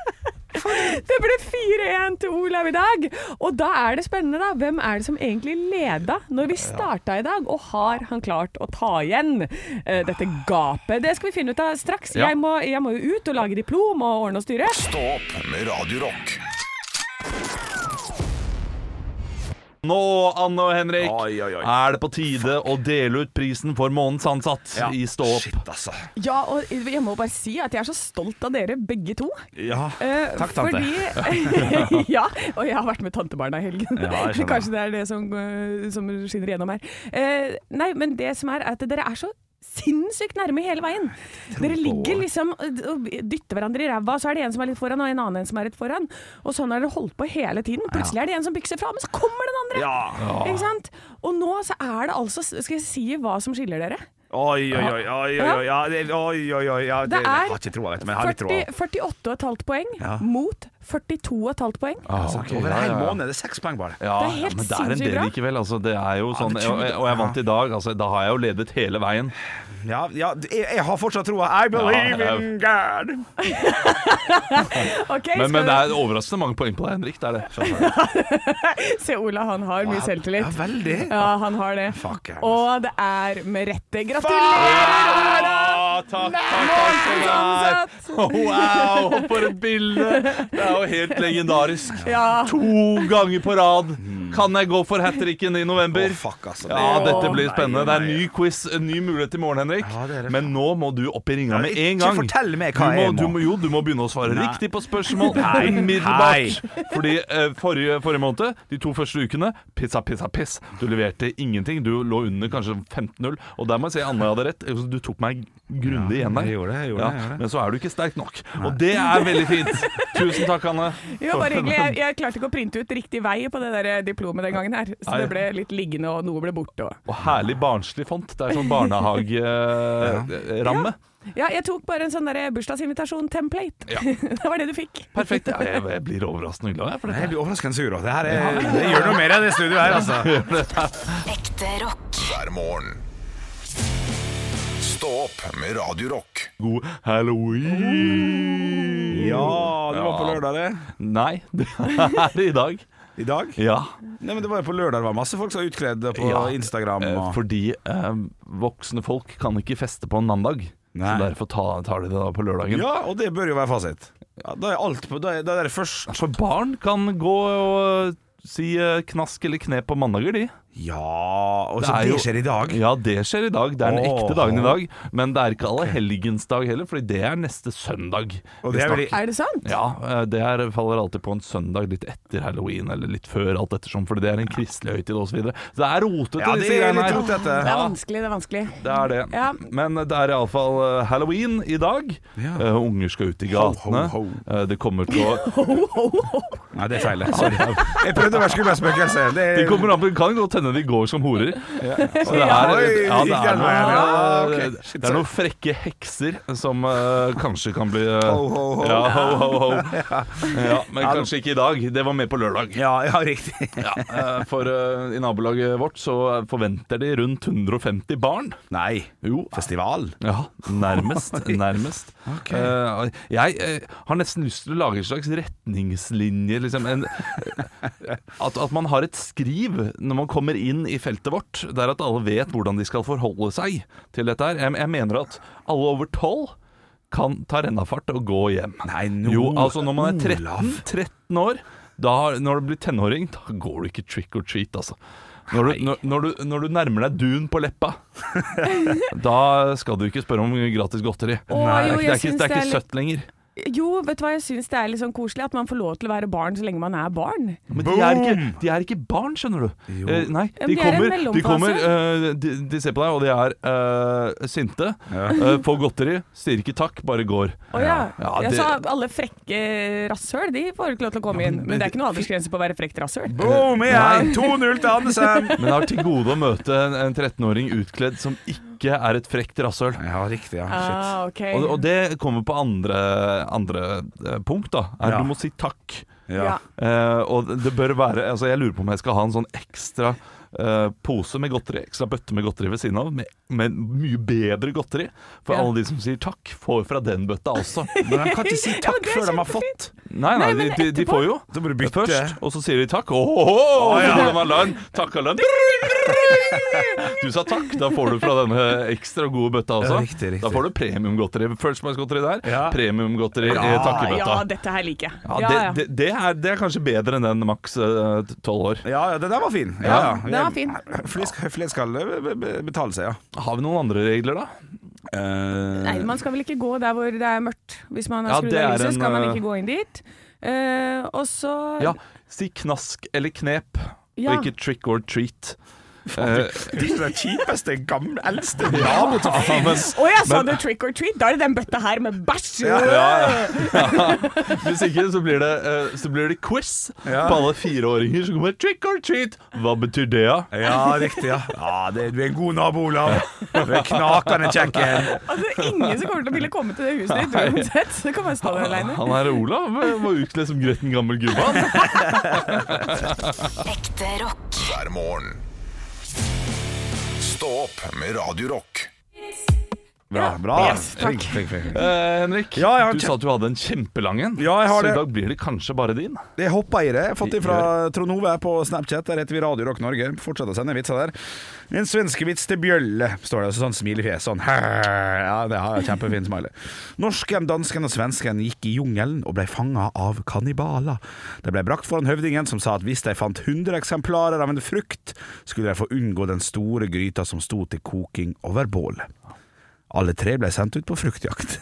C: Det ble 4-1 til Olav i dag. Og da er det spennende, da. Hvem er det som egentlig leda når vi starta i dag? Og har han klart å ta igjen eh, dette gapet? Det skal vi finne ut av straks.
D: Ja.
C: Jeg, må, jeg må jo ut og lage diplom og ordne og styre.
B: Stå opp med Radio Rock.
D: Nå, Anne og Henrik,
E: Oi, oi, oi.
D: er det på tide å dele ut prisen for månedens ansatt i Stå opp.
E: Shit, altså.
C: Ja, og jeg må bare si at jeg er så stolt av dere begge to.
E: Ja.
C: Eh,
E: Takk, tante.
C: Fordi, ja, og jeg har vært med tantebarna i helgen.
E: Ja, jeg skjønner.
C: Kanskje det er det som, eh, som skinner gjennom her. Eh, nei, men det som er, er at dere er så sinnssykt nærme hele veien. Dere ligger liksom og og dytter hverandre i ræva, så er det en som er litt foran, og en annen en som er litt foran. Og sånn har dere holdt på hele tiden. Plutselig er det en som bykser fra, men så kommer den andre!
E: Ja.
C: Ikke sant? Og nå så er det altså Skal jeg si hva som skiller dere?
E: Oi, oi, oi, oi, oi, oi, ja, det- oi, oi, oi, ja, det,
C: Det
E: Jeg
C: er
E: har ikke troa, vet du, men jeg har litt troa.
C: 40 48,5 poeng
E: Ja.
C: mot 42,5 poeng.
D: Ah, ok,
E: Over en
D: ja,
E: hel
D: ja, ja.
E: måned er det seks poeng bare.
D: Ja,
C: Det er helt
D: ja, men det er en
C: sinnssykt
D: del
C: bra.
D: likevel. Altså, det er jo sånn,
E: betyr
D: og,
E: det-
D: og jeg vant i dag. Altså, da har jeg jo ledet hele veien.
E: Ja, ja det- jeg, jeg har fortsatt troa. I believe
D: Ja,
E: in God!
C: Ok,
D: Men,
C: skal
D: men det
C: vi-
D: er overraskende mange poeng på deg, Henrik. Det er det.
C: Se, Ola, han har mye
E: Ah, Ja,
C: selvtillit.
E: veldig.
C: Ja, han har det.
E: Fuck, jeg.
C: Og det er med rette. Gratulerer!
D: Ah, takk, takk, takk,
C: Ansatt!
D: takk. Wow, for et bilde! Det er jo helt legendarisk.
C: Ja.
D: To ganger på rad. Kan jeg gå for hat tricken i november?
E: Mm. Å, fuck, altså.
D: Ja,
E: Det-
D: dette blir
E: Å,
D: spennende. Det
E: nei,
D: er en ny quiz, en ny mulighet i morgen, Henrik.
E: Ja, det er det.
D: Men nå må du opp i ringa
E: Ja,
D: med
E: ikke
D: en gang.
E: fortell meg hva
D: du
E: jeg må.
D: Du må. Jo, du må begynne å svare
E: Nei.
D: riktig på spørsmål
E: Nei.
D: umiddelbart. Fordi eh, forrige, forrige måned, de to første ukene, pizza, pizza, piss. Du leverte ingenting. Du lå under kanskje 15-0. Og der må jeg si Anne hadde rett. Altså, Du tok meg grundig
E: Ja,
D: igjen der.
E: jeg gjorde det, jeg gjorde det, jeg gjorde det.
D: Men så er du ikke sterk nok. Og det er veldig fint. Tusen takk, Anne.
C: Jo, bare hyggelig. Jeg, jeg klarte ikke å printe ut riktig vei på det der eh, diplomet den gangen her, så
D: Nei.
C: det ble litt liggende, og noe ble borte. Og.
D: Og herlig barnslig font. Det er sånn barnehageramme.
C: Ja, jeg tok bare en sånn der bursdagsinvitasjon-template. det var det du fikk.
D: Perfekt. Ja, Jeg, jeg blir overraskende glad jeg, for
E: Nei,
D: dette.
E: Jeg blir overraskende sur. også. Det, her er, det gjør noe med deg, det studioet her, altså.
A: Ekte rock.
B: hver morgen. Stå opp med Radio Rock.
D: God halloween!
E: Ja, det var på lørdag, det.
D: Nei, det er i dag.
E: I dag?
D: Ja.
E: Nei, men Det var jo på lørdag det var masse folk som var utkledd på
D: Ja.
E: Instagram.
D: Eh,
E: Og...
D: Fordi eh, voksne folk kan ikke feste på en mandag.
E: Nei.
D: Så derfor ta- tar de det da på lørdagen.
E: Ja, og det bør jo være fasit. Ja, da er alt på, da er, da er det først
D: For barn kan gå og si eh, knask eller knep på mandager, de.
E: Ja, og
D: Det
E: så
D: er
E: det,
D: jo-
E: skjer i dag.
D: Ja, det skjer i dag. Det er den
E: Åh.
D: ekte dagen i dag. Men det er ikke allehelgensdag heller, Fordi det er neste søndag.
E: Og
D: vi
E: det er
D: snakker
E: veldig-
C: Er det sant?
D: Ja, eh, det her faller alltid på en søndag litt etter halloween, eller litt før, alt ettersom, fordi det er en kristelig høytid osv. Så, videre. så det er rotete,
E: Ja, det
D: disse
E: er
D: greiene
E: litt
D: her.
E: rotete.
C: Det er vanskelig, det er vanskelig.
D: Det er det.
C: Ja.
D: Men det er iallfall eh, halloween i dag.
E: Ja.
D: Eh, unger skal ut i gatene.
E: Ho, ho, ho.
D: Eh, det kommer til å
E: Nei, det er feil. Sorry. Jeg prøvde å være skummelspøkelse. Det
D: Det
E: er
D: kommer an på, det kan godt hende hende de går som horer. Så det er,
E: Oi,
D: ja, det
E: gikk
D: er,
E: den veien, ja,
D: noe,
E: ok.
D: det er noen frekke hekser som eh, kanskje kan bli eh,
E: Ho, ho, ho.
D: Ja, ho, ho, ho. ja, men kanskje ikke i dag. Det var med på lørdag.
E: Ja, ja, riktig.
D: Ja, eh, for eh, i nabolaget vårt så forventer de rundt 150 barn.
E: Nei.
D: Jo,
E: Festival.
D: ja, nærmest. nærmest. Eh, jeg eh, har nesten lyst til å lage en slags retningslinje. Liksom. En, at, at man har et skriv når man kommer inn i feltet vårt, der at alle vet hvordan de skal forholde seg til dette. her. Jeg, jeg mener at alle over tolv kan ta rennafart og gå hjem.
E: Nei, nå-
D: Jo, altså når man er 13,
E: Olav.
D: 13 år, da, har- når du blir tenåring, da går du ikke trick or treat, altså. Når du, når, når, du, når du nærmer deg dun på leppa, da skal du ikke spørre om gratis godteri.
C: Nei. jo,
D: det,
C: jeg
D: er
C: syns
D: ikke, det er
C: det er
D: ikke
C: litt-
D: søtt lenger.
C: Jo, vet du hva, jeg syns det er litt sånn koselig at man får lov til å være barn så lenge man er barn.
D: Men de er, ikke, de er ikke barn, skjønner du. Eh, nei,
C: Ja, men
D: de,
C: de er en
D: kommer, de,
C: mellomfase.
D: kommer eh, de, de ser på deg, og de er eh, sinte. eh, får godteri, sier ikke takk, bare går.
C: Å ja.
D: Ja,
C: ja,
D: det-
C: så alle frekke rasshøl, de får ikke lov til å komme inn. Men det er ikke noe aldersgrense på å være frekt rasshøl.
E: Boom igjen! 2-0 til Andersen.
D: Men jeg har til gode å møte en, en 13-åring utkledd som ikke er et frekt rasshøl.
E: Ja, riktig. Ja. Shit.
C: Ah, ok.
D: Og, og
E: Eh.
D: det kommer på andre, andre eh, punkt, da. Er
E: Ja.
D: Du må si takk.
E: Ja.
D: Eh, og det bør være altså Jeg lurer på om jeg skal ha en sånn ekstra eh, pose med godteri, ekstra bøtte med godteri ved siden av, med, med mye bedre godteri. For
C: Ja.
D: alle de som sier takk, får fra den bøtta også.
E: Men de kan ikke si
C: Ja, men
E: takk
C: det er
E: før de har fått.
D: Nei, nei, de, de, de får jo.
E: Da må du bytte.
D: Først, og så sier de takk. Åh, åh, åh, så får de alarm. Takkalarm. Du sa takk, da får du fra denne ekstra gode bøtta også.
E: Ja, riktig, riktig.
D: Da får du premiumgodteri. Firstmice-godteri der,
E: Ja.
D: premiumgodteri i
C: ja,
D: takkebøtta.
C: ja, dette her liker jeg.
D: Ja, det, det, det, er, det er kanskje bedre enn den maks eh, tolv år.
E: Ja, ja, den der var fin. Ja,
D: Ja,
E: ja.
C: den var fin.
E: Flere skal, flere skal eh, be- be- betale seg, ja.
D: Har vi noen andre regler, da? Eh,
C: Nei, man skal vel ikke gå der hvor det er mørkt. Hvis man har
D: Ja,
C: skrudd
D: det
C: av
D: er
C: lyset,
D: en,
C: skal man
D: eh,
C: ikke gå inn dit. Eh, og så
D: Ja, Si knask eller knep,
C: Ja.
D: og ikke trick or treat. Eh,
E: Det er ikke det kjipeste, gamle, eldste
D: Ja, men
C: Å ja, sa du trick or treat? Da er det den bøtta her med bæsj!
D: Hvis ikke så blir det, eh, så blir det quiz på alle fireåringer som kommer trick or treat. Hva betyr det, da?
E: Ja, riktig. ja, ja det, Du er en god nabo, Olav. Du er knakende kjekk. en.
C: Altså, ingen som kommer til å ville komme til det huset ditt uansett. Så kan man stå der aleine.
D: Han her Olav eh, var utkledd som gretten gammel gubbe. han.
A: Ekte rock.
B: hver morgen. Stå opp med Radio Rock.
E: Bra. bra.
C: Yes, takk.
E: Flink, flink, flink.
D: Eh, Henrik,
E: Ja, jeg har
D: du
E: kjem-
D: sa at du hadde en kjempelang en.
E: Ja, jeg har
D: så
E: det.
D: i dag blir det kanskje bare din.
E: Jeg hoppa i det. Jeg har fått det fra Trond Ove på Snapchat. Der heter vi Radio Rock Norge. Fortsett å sende vitser der. En svenskevits til Bjølle, står det. Så sånn smilefjes. Sånn. Ja, det har jeg kjempefin smiley. Norsken, dansken og svensken gikk i jungelen og ble fanga av kannibaler. De ble brakt foran høvdingen, som sa at hvis de fant 100 eksemplarer av en frukt, skulle de få unngå den store gryta som sto til koking over bålet. Alle tre ble sendt ut på fruktjakt.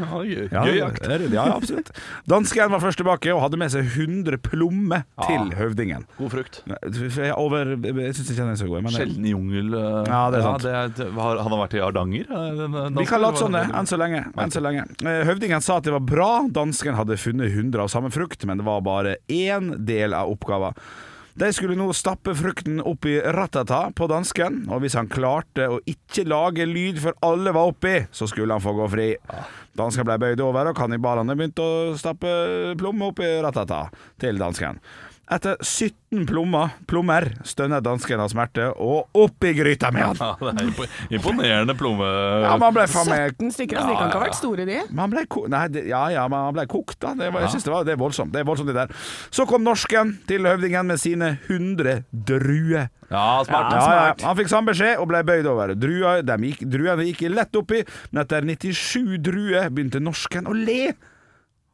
D: Ja, gøy,
E: Ja,
D: gøy jakt.
E: det er- Ja, absolutt. Dansken var først tilbake og hadde med seg 100 plommer til høvdingen.
D: God frukt.
E: Nei, jeg- Over, jeg syns ikke den er så god. Men
D: Sjelden jungel. eh,
E: Ja, det er sant.
D: det er- har, han har vært i Hardanger? eh, den- den
E: vi kan
D: dansken,
E: late som
D: eller
E: det,
D: hva?
E: enn så lenge. Enn så lenge. Eh, Høvdingen sa at det var bra, dansken hadde funnet 100 av samme frukt, men det var bare én del av oppgaven. De skulle nå stappe frukten opp i ratata på dansken, og hvis han klarte å ikke lage lyd før alle var oppi, så skulle han få gå fri. Dansken ble bøyd over, og kannibalene begynte å stappe plommer opp i ratata til dansken. Etter 17 plommer, plommer stønnet dansken av smerte, og opp i gryta med han!
D: Ja, det er impo- imponerende plomme...
E: Ja, man ble faen meg
C: 17 stykker, altså. De kan ikke ha vært store, de.
E: Men han ble, ko nei, det, ja, ja, men han ble kokt, da. Det, var, jeg synes det, var, det er voldsomt. Det er voldsomt det der. Så kom norsken til høvdingen med sine 100 druer.
D: Ja, smart.
E: Ja, ja, han fikk samme beskjed og ble bøyd over. Drua, dem gikk, druene gikk lett oppi, men etter 97 druer begynte norsken å le.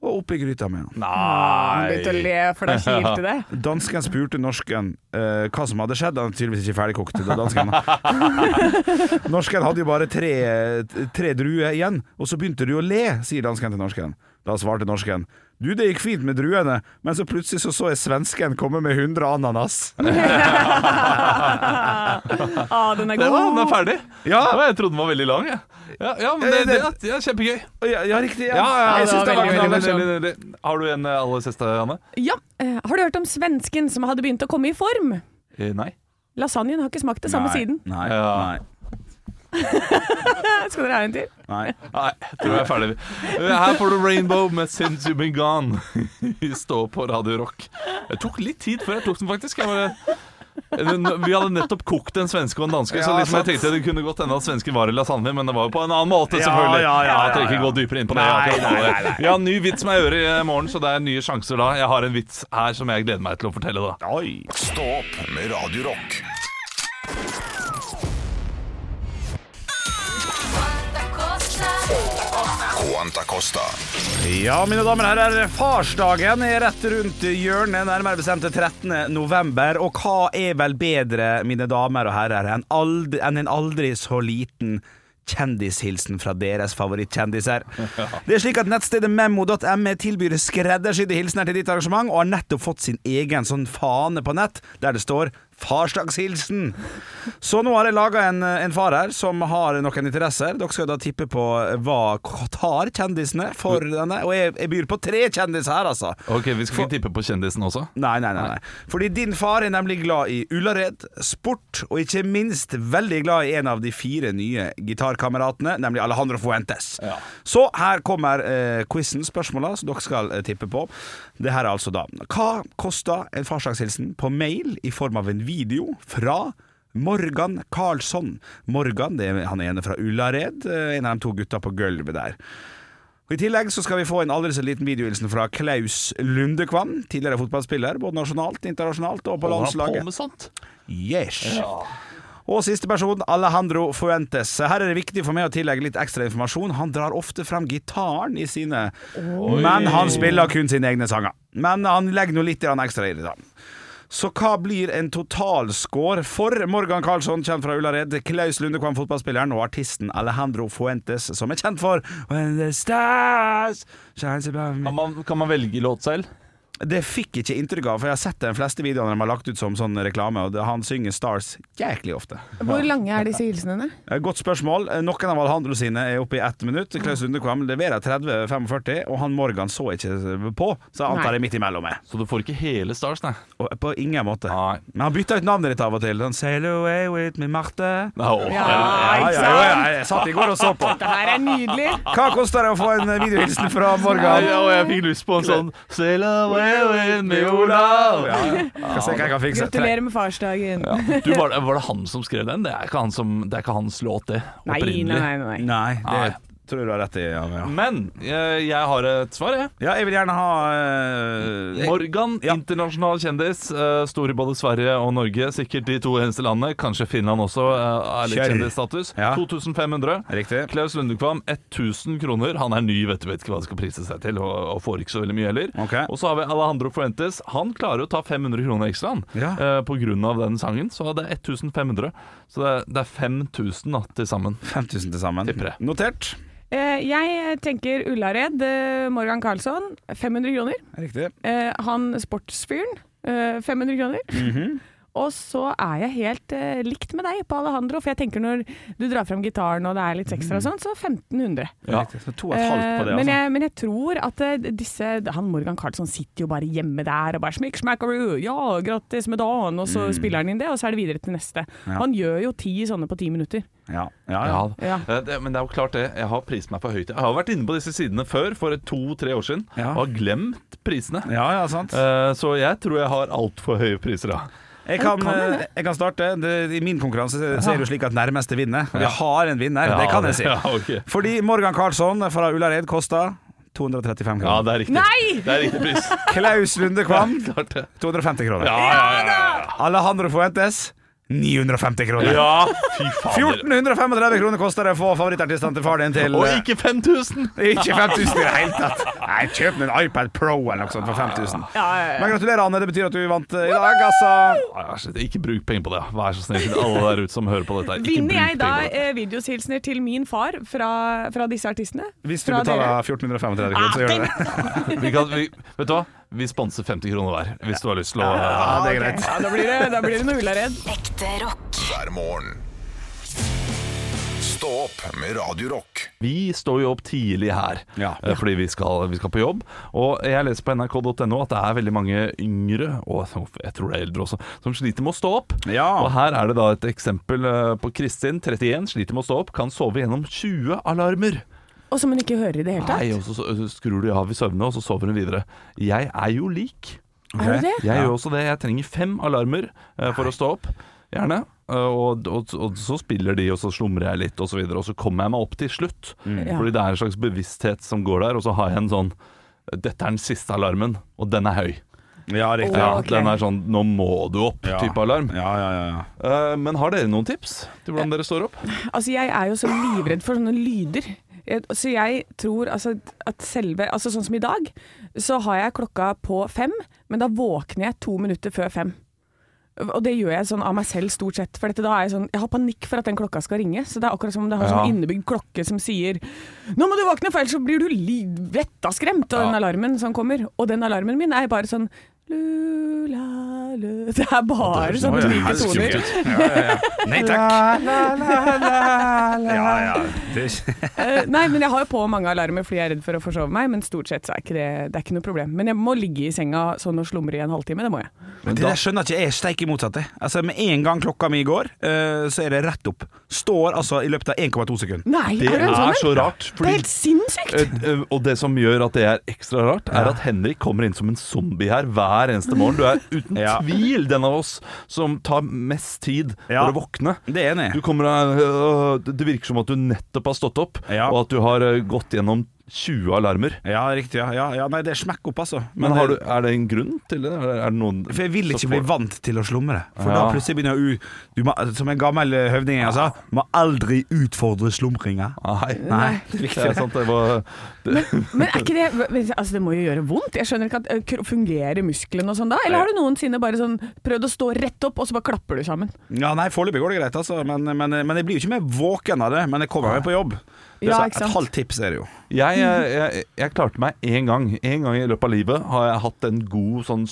E: Og oppi gryta med han.
C: Han begynte å le, for da kilte det.
E: Dansken spurte norsken eh, hva som hadde skjedd. Han er tydeligvis ikke ferdigkokt. da, Dansken. norsken hadde jo bare tre, tre druer igjen, og så begynte du å le, sier dansken til norsken. Da svarte norsken du, det gikk fint med druene, men så plutselig så, så jeg svensken komme med 100 ananas.
C: Å, den er
D: Det var, den
C: god.
D: er ferdig.
E: Ja. Eh,
D: Å, Jeg trodde den var veldig lang. jeg. Ja, ja men det, det, det er kjempegøy.
E: Ja, ja riktig. Ja,
D: Ja,
E: jeg
C: det
E: synes
C: var
E: det var
C: veldig,
E: knall-
C: veldig morsomt.
D: Veldig, veldig. Har du en eh, aller siste, Anne?
C: Ja, eh, Har du hørt om svensken som hadde begynt å komme i form?
D: Eh, Nei.
C: Lasagnen har ikke smakt det samme
E: Nei,
C: siden.
E: Nei,
D: Ja.
E: nei,
C: Skal dere ha en til?
E: nei.
D: Nei, jeg tror jeg er ferdig. Her får du Rainbow med Since You've Been Gone. Vi står på Radio Rock. Det tok litt tid før jeg tok den, faktisk. Jeg bare den, vi hadde nettopp kokt en svenske og en danske, så
E: Ja,
D: liksom jeg
E: sant.
D: tenkte det kunne godt hende at svensken var i lasagne, men det var jo på en annen måte,
E: Ja,
D: selvfølgelig.
E: ja, ja,
D: jeg trenger
E: ja,
D: ikke
E: ja.
D: gå dypere inn på det.
E: Nei,
D: Jeg har ikke
E: nei,
D: noe-
E: nei, nei.
D: Vi har en ny vits med øret i morgen, så det er nye sjanser da. Jeg har en vits her som jeg gleder meg til å fortelle, da.
E: Oi.
B: Stå opp med Radio Rock. Quanta Costa.
E: Ja, mine damer og herrer, farsdagen er rett rundt hjørnet, nærmere bestemt til 13. november. Og hva er vel bedre, mine damer og herrer, enn, aldri, enn en aldri så liten kjendishilsen fra deres favorittkjendiser? Det er slik at nettstedet memo.me tilbyr skreddersydde hilsener til ditt arrangement, og har nettopp fått sin egen sånn fane på nett, der det står Farsdagshilsen! Så nå har jeg laga en, en far her som har noen interesser. Dere skal da tippe på hva tar kjendisene for denne. Og jeg, jeg byr på tre kjendiser her, altså.
D: Ok, Vi skal ikke tippe på kjendisen også?
E: Nei, nei, nei, nei. Fordi din far er nemlig glad i Ullared, sport, og ikke minst veldig glad i en av de fire nye gitarkameratene, nemlig Alejandro Fuentes. Så her kommer eh, quizen, spørsmåla som dere skal eh, tippe på. Det her er altså da Hva koster en farsdagshilsen på mail i form av en video fra Morgan Karlsson. Morgan det er han ene fra Ullared, eh, en av de to gutta på gulvet der. Og I tillegg så skal vi få en aldri så liten videohilsen fra Klaus Lundekvam, tidligere fotballspiller, både nasjonalt, internasjonalt og på landslaget. Yes. Og siste person, Alejandro Fuentes. Her er det viktig for meg å tillegge litt ekstra informasjon. Han drar ofte fram gitaren i sine Men han spiller kun sine egne sanger. Men han legger nå litt grann ekstra i det, da. Så hva blir en totalscore for Morgan Karlsson, kjent fra Ullared, Klaus Lundekvam, fotballspilleren, og artisten Alejandro Fuentes, som er kjent for When the stars shines above me
D: Kan man, kan man velge låt selv?
E: det fikk jeg ikke inntrykk av, for jeg har sett de fleste videoene de har lagt ut som sånn reklame, og det, han synger Stars jæklig ofte.
C: Hvor lange er disse hilsenene?
E: Eh, Godt spørsmål. Eh, Noen av Alejandro sine er oppe i ett minutt. Klaus Lundekvam leverer 30-45, og han Morgan så ikke på, så jeg
C: Nei.
E: antar det er midt imellom meg.
D: Så du får ikke hele Stars, nei.
E: Og eh, på ingen måte.
D: Nei.
E: Men han bytta ut navnet ditt av og til. Sånn, Sail away with me, Marte.
D: Nå.
E: Ja, ja, ja, ja, jeg satt i går og så på.
C: Det her er nydelig.
E: Hva koster det å få en eh, videohilsen fra Morgan?
D: Ja, og jeg fikk lyst på en sånn Sail away with me, Olav.
E: Ja, ja. Skal se hva jeg kan fikse.
C: Gratulerer med farsdagen.
D: Du, var, det, var det han som skrev den? Det er ikke, han som, det er ikke hans låt, det.
C: Nei,
D: Opprinnelig.
C: nei, nei. nei.
E: Nei, det
D: Nei.
E: tror du har rett i. Ja, ja.
D: Men jeg, jeg har et svar, jeg.
E: ja, jeg vil gjerne ha eh, jeg-
D: Morgan, internasjonal kjendis. eh, Stor i både Sverige og Norge. Sikkert de to eneste landene. Kanskje Finland også eh, er litt
E: Kjør.
D: kjendisstatus.
E: Ja.
D: 2500.
E: Riktig.
D: Klaus Lundekvam 1000 kroner. Han er ny, vet du vet ikke hva han skal prise seg til, og, og får ikke så veldig mye heller.
E: Ok.
D: Og så har vi Alejandro Fuentes. Han klarer å ta 500 kroner ekstra han,
E: Ja.
D: eh, på grunn av den sangen. Så det er 1500. Så det er, det er 5000 da, til sammen.
E: 5000 til sammen.
D: Tipper det.
E: Notert.
C: Eh, Jeg tenker Ullared, eh, Morgan Karlsson, 500 kroner.
E: Riktig.
C: Eh, Han sportsfyren, eh, 500 kroner.
E: Mhm.
C: Og så er jeg helt eh, likt med deg på Alejandro, for jeg tenker når du drar fram gitaren og det er litt ekstra og sånn, så 1500.
D: Ja.
E: Riktig. Så to og Mhm. et halvt på det,
C: Eh, men,
E: altså.
C: jeg, men jeg tror at eh, disse Han Morgan Karlsson sitter jo bare hjemme der og bare smikk, smackaroo, ja, grattis med dagen, og så spiller han inn det, og så er det videre til neste.
E: Mhm. Ja.
C: Han gjør jo ti sånne på ti minutter.
E: Ja, ja, ja.
D: Ja.
C: Ja.
D: Eh, Det, men det er jo klart det. Jeg har prist meg for høyt. Jeg har vært inne på disse sidene før, for to-tre år siden,
E: Ja.
D: og har glemt prisene.
E: ja, ja sant.
D: Eh, Så jeg tror jeg har altfor høye priser, da.
E: Jeg kan,
C: kan hende.
E: eh, jeg kan starte. Det, I min konkurranse så så er det jo slik at nærmeste vinner. Og vi har en vinner,
D: Ja,
E: det kan jeg si.
D: Ja, ok.
E: Fordi Morgan Karlsson fra Ullared kosta 235
D: ja
E: kroner.
D: det er riktig.
C: Nei!
D: Det er riktig pris.
E: Klaus Lunde Kvam
D: Klart det.
E: 250 kroner.
D: Ja, ja, ja, ja.
E: Alejandro Fuentes 950 kroner.
D: Ja, fy fader.
E: 1435 kroner koster det å få favorittartistene til far din til eh,
D: Og ikke 5000!
E: Ikke 5000 i det hele tatt. Nei, kjøp en iPad Pro eller noe sånt for 5000. Men gratulerer, Anne. Det betyr at du vant eh, i dag, altså.
D: Nei, vær så snill, Ikke bruk penger på det. Vær så snill til alle der ute som hører på dette. her. Ikke
C: Vinner
D: bruk
C: jeg da
D: penger på det.
C: eh, videoshilsener til min far fra, fra disse artistene?
E: Hvis du
C: Fra
E: betaler
C: dere?
E: 1435 kroner, så gjør du det.
D: Vi kan, vi, vet du hva? Vi sponser 50 kroner hver, hvis du har lyst til å
E: Ja, det er greit.
C: Ja, da blir det, da blir det noe Ullared.
A: Ekte rock.
B: Hver morgen. Stå opp med Radio Rock.
D: Vi står jo opp tidlig her,
E: Ja.
D: eh, fordi vi skal, vi skal på jobb. Og jeg leser på nrk.no at det er veldig mange yngre, og jeg tror det er eldre også, som sliter med å stå opp.
E: Ja.
D: Og her er det da et eksempel eh, på Kristin, 31, sliter med å stå opp, kan sove gjennom 20 alarmer.
C: Og som hun ikke hører i det hele tatt.
D: Nei, og så så skrur du av i søvne, og så sover hun videre. Jeg er jo lik.
C: Er du det?
D: Jeg gjør også det. Jeg trenger fem alarmer eh, for å stå opp, gjerne. Eh, og, og, og så spiller de, og så slumrer jeg litt, og så videre. Og så kommer jeg meg opp til slutt.
E: Mm.
C: Ja.
D: Fordi det er en slags bevissthet som går der, og så har jeg en sånn Dette er den siste alarmen, og den er høy.
E: Ja, riktig.
D: Ja,
E: Ja,
C: ok.
D: Den er sånn 'nå må du
E: Ja.
D: opp'-type alarm.
E: ja, Eh, ja. ja.
D: Eh, men har dere noen tips til hvordan dere står opp?
C: Altså, jeg er jo så livredd for sånne lyder. Jeg- Så jeg tror altså, at selve Altså sånn som i dag, så har jeg klokka på fem, men da våkner jeg to minutter før fem. Og det gjør jeg sånn av meg selv stort sett. For dette, da er jeg sånn Jeg har panikk for at den klokka skal ringe. Så det er akkurat som om det har
D: Ja.
C: sånn innebygd klokke som sier 'Nå må du våkne, for ellers så blir du li- vettaskremt av den alarmen som kommer'. Og den alarmen min er bare sånn Lula, lu. Det er bare
D: det er
C: sånne
D: sånn, ja,
C: myke toner.
D: det er skummelt.
E: ja, ja, ja. Nei takk. Ja, ja. Det er ikke
C: Eh, Nei, men jeg har jo på mange alarmer fordi jeg er redd for å forsove meg, men stort sett så er ikke det, det er ikke noe problem. Men jeg må ligge i senga sånn og slumre i en halvtime, det må jeg.
E: Men det der skjønner ikke jeg er steik imotsatt det. Altså, med en gang klokka mi går, eh, så er det rett opp. Står altså i løpet av 1,2 sekunder.
C: Nei,
D: Det
C: er du en
D: er
C: sånn
D: så
C: en?
D: rart.
C: Det er
D: Fordi
C: helt sinnssykt!
D: Eh, eh, Og det som gjør at det er ekstra rart, er at Henrik kommer inn som en zombie her hver eneste morgen. Du er uten
E: Ja.
D: tvil den av oss som tar mest tid
E: Ja.
D: for å våkne.
E: Det er enig.
D: Du kommer, eh, øh, det virker som at du nettopp har stått opp,
E: Ja.
D: og at du har eh, gått gjennom 20 alarmer.
E: Ja, riktig. Ja, ja, ja. Nei, det er smekk opp, altså.
D: Men har du, er det en grunn til det? Er det- er det noen
E: For jeg vil
D: som
E: ikke
D: får-
E: bli vant til å slumre. For
D: Ja.
E: da plutselig begynner jeg å u- du må, Som en gammel eh, høvding jeg sa, må aldri utfordre slumringa.
D: Nei.
E: Nei, det er
D: Ah, Det
E: viktig.
D: er sant, det var
C: Men er ikke det men, Altså, det må jo gjøre vondt. Jeg skjønner ikke at eh, kro- Fungerer musklene og sånn da? Eller har du noensinne bare sånn prøvd å stå rett opp, og så bare klapper du sammen?
E: Ja, nei, Foreløpig går det greit, altså. Men, men, men jeg blir jo ikke mer våken av det. Men jeg kommer meg på jobb.
C: Ja,
E: Så
C: ikke sant?
E: Et halvt tips er det jo.
D: Jeg, jeg, jeg, jeg klarte meg én gang. Én gang i løpet av livet har jeg hatt en god sånn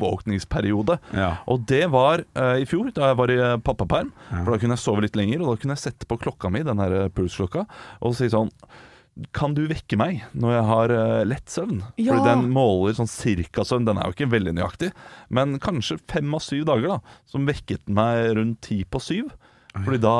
D: søvnoppvåkningsperiode.
E: Ja.
D: Og det var eh, i fjor, da jeg var i eh, pappaperm. For da kunne jeg sove litt lenger, og da kunne jeg sette på klokka mi, den her eh, pulsklokka, og si sånn kan du vekke meg når jeg har eh, lett søvn?
C: Ja.
D: Fordi den måler sånn cirka søvn. Den er jo ikke veldig nøyaktig, men kanskje fem av syv dager, da. Som vekket meg rundt ti på syv. Fordi da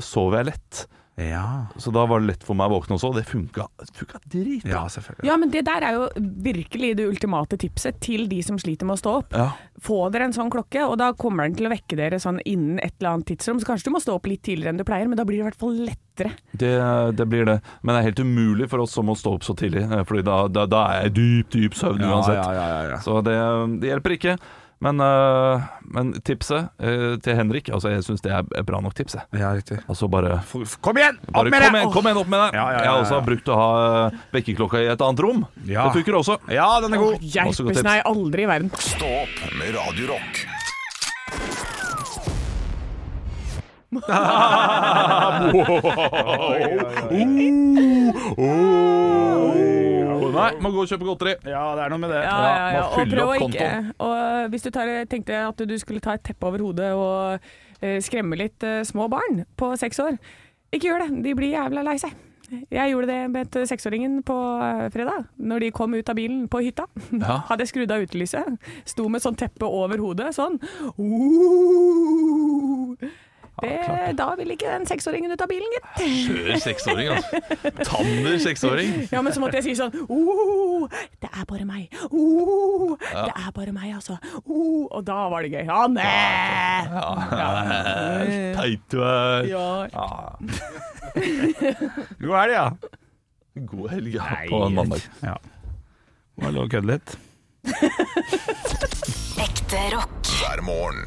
D: sover jeg lett.
E: Ja,
D: Så da var det lett for meg å våkne også, og det funka, det funka dritbra.
E: ja selvfølgelig.
C: Ja, men det der er jo virkelig det ultimate tipset til de som sliter med å stå opp.
D: Ja.
C: Få dere en sånn klokke, og da kommer den til å vekke dere sånn innen et eller annet tidsrom. Så kanskje du må stå opp litt tidligere enn du pleier, men da blir det i hvert fall lettere.
D: Det, det blir det. Men det er helt umulig for oss som må stå opp så tidlig, eh, Fordi da, da, da er jeg i dyp, dyp søvn
E: Ja,
D: uansett.
E: ja, ja, ja, ja.
D: Så det, det hjelper ikke. Men, eh, men tipset eh, til Henrik Altså, jeg syns det er et bra nok tips, jeg.
E: Ja, riktig.
D: Altså bare,
E: F- Kom igjen! Opp
D: bare
E: med
D: kom,
E: det!
D: igjen, kom igjen, opp med deg!
E: Ja, ja, ja,
D: Jeg har også
E: ja.
D: brukt å ha eh, vekkerklokka i et annet rom.
E: Ja.
D: Det funker også.
E: Ja, den er god.
D: Også godt
C: Hjelpes,
D: tips.
C: nei, aldri i verden.
B: Stå opp med Radio Rock.
D: Oh, Nei, må gå og kjøpe godteri.
E: Ja, det er noe med det.
C: Ja, ja, ja.
D: man
C: Og
D: fyller
C: prøv å
D: opp
C: ikke og eh, Hvis du tar, tenkte at du skulle ta et teppe over hodet og eh, skremme litt eh, små barn på seks år, ikke gjør det. De blir jævla lei seg. Jeg gjorde det med et seksåringen på eh, fredag, når de kom ut av bilen på hytta. Hadde jeg skrudd av utelyset, sto med sånn teppe over hodet, sånn. Uh. Det, da vil ikke den seksåringen ut av bilen, gitt.
D: Kjør seksåring, altså. Tanner seksåring.
C: Ja, men så måtte jeg si sånn oh, Det er bare meg. Oh, Det er bare meg, altså. Oh, og da var det gøy. Hanne!
E: Eh,
C: Ja.
D: Teit du er.
C: Ja.
E: God helg, ja.
D: God helg ja, på en mandag.
E: Ja. Må jeg lov å kødde litt?
A: Ekte rock.
B: hver morgen.